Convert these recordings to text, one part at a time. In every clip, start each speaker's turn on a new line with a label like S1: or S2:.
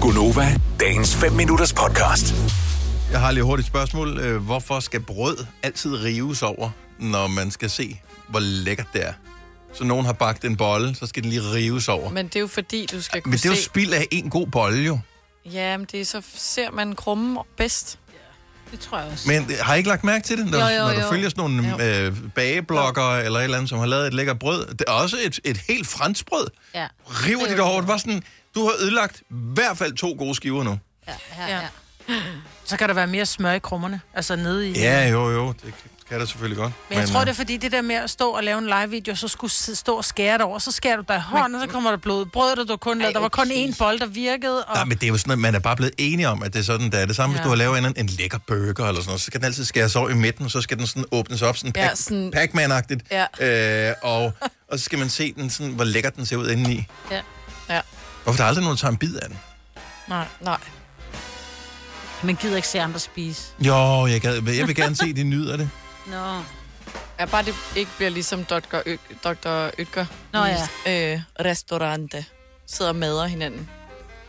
S1: Gunova, dagens 5 minutters podcast.
S2: Jeg har lige hurtigt spørgsmål. Øh, Hvorfor skal brød altid rives over, når man skal se, hvor lækkert det er? Så nogen har bagt en bolle, så skal den lige rives over.
S3: Men det er jo fordi, du skal kunne
S2: Men det er jo
S3: se...
S2: spild af en god bolle jo.
S3: Ja, men det er så ser man krumme bedst.
S4: Det tror jeg også. Men...
S2: Men øh, har I ikke lagt mærke til det, når,
S4: Jo, jo,
S2: når du
S4: jo.
S2: følger sådan nogle øh, bageblogger eller et eller andet, som har lavet et lækkert brød? Det er også et, et helt fransk brød.
S4: Ja.
S2: River de det over? Det var sådan, du har ødelagt i hvert fald to gode skiver nu.
S4: Ja, ja,
S3: Ja.
S4: ja. Så kan der være mere smør i krummerne, altså nede i...
S2: Ja, jo, jo. Det kan der selvfølgelig godt.
S4: Men jeg tror,
S2: øh,
S4: det er fordi det der med at stå og lave en live-video, så skulle sidde- stå og skære det over, så skærer du dig i hånden, og så kommer der blod. Brødet, der du kun lavede, der var kun én bold, der virkede, og...
S2: Nej, men det er jo sådan, at man er bare blevet enige om, at det er sådan, der er det samme, ja. hvis
S4: Ja.
S2: du har lavet en, en lækker burger eller sådan noget, så skal den altid skæres over i midten, og så skal den sådan åbnes op, sådan,
S3: Ja,
S2: pac,
S3: sådan-
S2: Pac-Man-agtigt, ja. øh, og, og så skal man se den sådan, hvor lækker den ser ud indeni.
S4: Ja.
S3: Ja,
S2: Hvorfor er der aldrig nogen, der tager en bid af den?
S4: Nej.
S3: nej.
S5: Man gider ikke se andre spise.
S2: Jo, jeg, gad, jeg vil gerne se, at de nyder det.
S5: Nå.
S3: Ja, bare det ikke bliver ligesom Dr. Ø- Dr. Ytger.
S5: Nå ja.
S3: Øh, restaurante. Sidder og mader hinanden.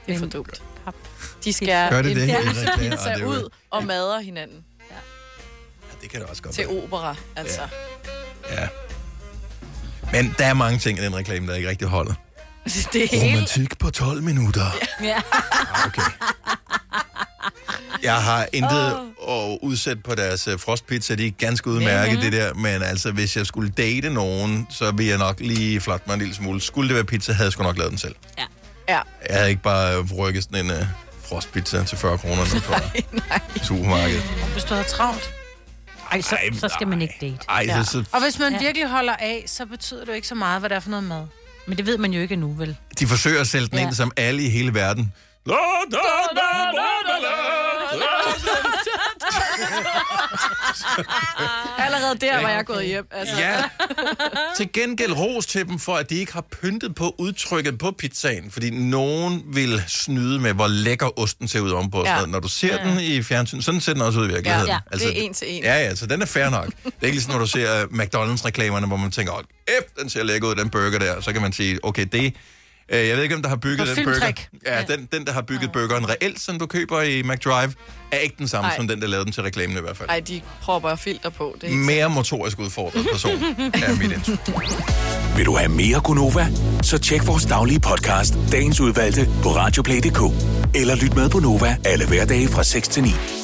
S3: Det er for
S5: Men-
S3: dumt. De skærer
S2: Gør det
S3: en
S2: det? Ja.
S3: pølse
S2: Ja, det er
S3: pizza
S2: jo-
S3: ud og mader hinanden
S2: Ja, det kan det også godt
S3: til
S2: være.
S3: opera, altså.
S2: Ja. Men der er mange ting i den reklame, der ikke rigtig holder.
S3: Det hele.
S2: Romantik på 12 minutter.
S5: Ja.
S2: Ah, Okay. Jeg har intet oh. at udsætte på deres øh, frostpizza. De er ganske udmærket, mm-hmm. det der. Men altså, hvis jeg skulle date nogen, så ville jeg nok lige flotte mig en lille smule. Skulle det være pizza, havde jeg sgu nok lavet den selv.
S5: ja.
S3: Ja.
S2: Jeg havde ikke bare øh, rykket sådan en uh, frostpizza til 40 kroner ned fra supermarkedet.
S4: Hvis du havde travlt.
S5: Ej, så,
S2: Ej,
S5: så skal man ikke date.
S2: Ej,
S3: Ja.
S2: så, så,
S4: Og hvis man
S5: Ja.
S4: ja. virkelig holder af, så betyder det jo ikke så meget, hvad det er for noget mad.
S5: Men det ved man jo ikke nu, vel?
S2: de forsøger at sælge den ja.
S5: Ja.
S2: ind som alle i hele verden. La, da, da, da, da, da.
S3: Allerede der var jeg gået hjem, altså.
S2: Ja. Til gengæld ros til dem for, at de ikke har pyntet på udtrykket på pizzaen, fordi nogen vil snyde med, hvor lækker osten ser ud ovenpå.
S3: Ja.
S2: Ja. Når du ser ja. den i fjernsyn, sådan ser den også ud i virkeligheden. Altså,
S3: Ja, det er en til en.
S2: Ja, ja, så den er fair nok. Det er ikke ligesom, når du ser uh, McDonald's-reklamerne, hvor man tænker, åh, F, den ser lækker ud, den burger der. Så kan man sige, okay, det... Øh, jeg ved ikke, om der har bygget
S4: Det er
S2: den burger.
S4: filmtrick.
S2: Ja, den, den, der har bygget burgeren reelt, som du køber i McDrive, er ikke den samme
S3: Nej.
S2: som den, der lavede den til reklamen i hvert fald.
S3: Ej, de propper filter på. Det er ikke
S2: Mere motorisk udfordret person er mit indtryk.
S1: Vil du have mere Gunova? Så tjek vores daglige podcast, dagens udvalgte, på radioplay.dk. Eller lyt med på Nova alle hverdage fra 6 til 9.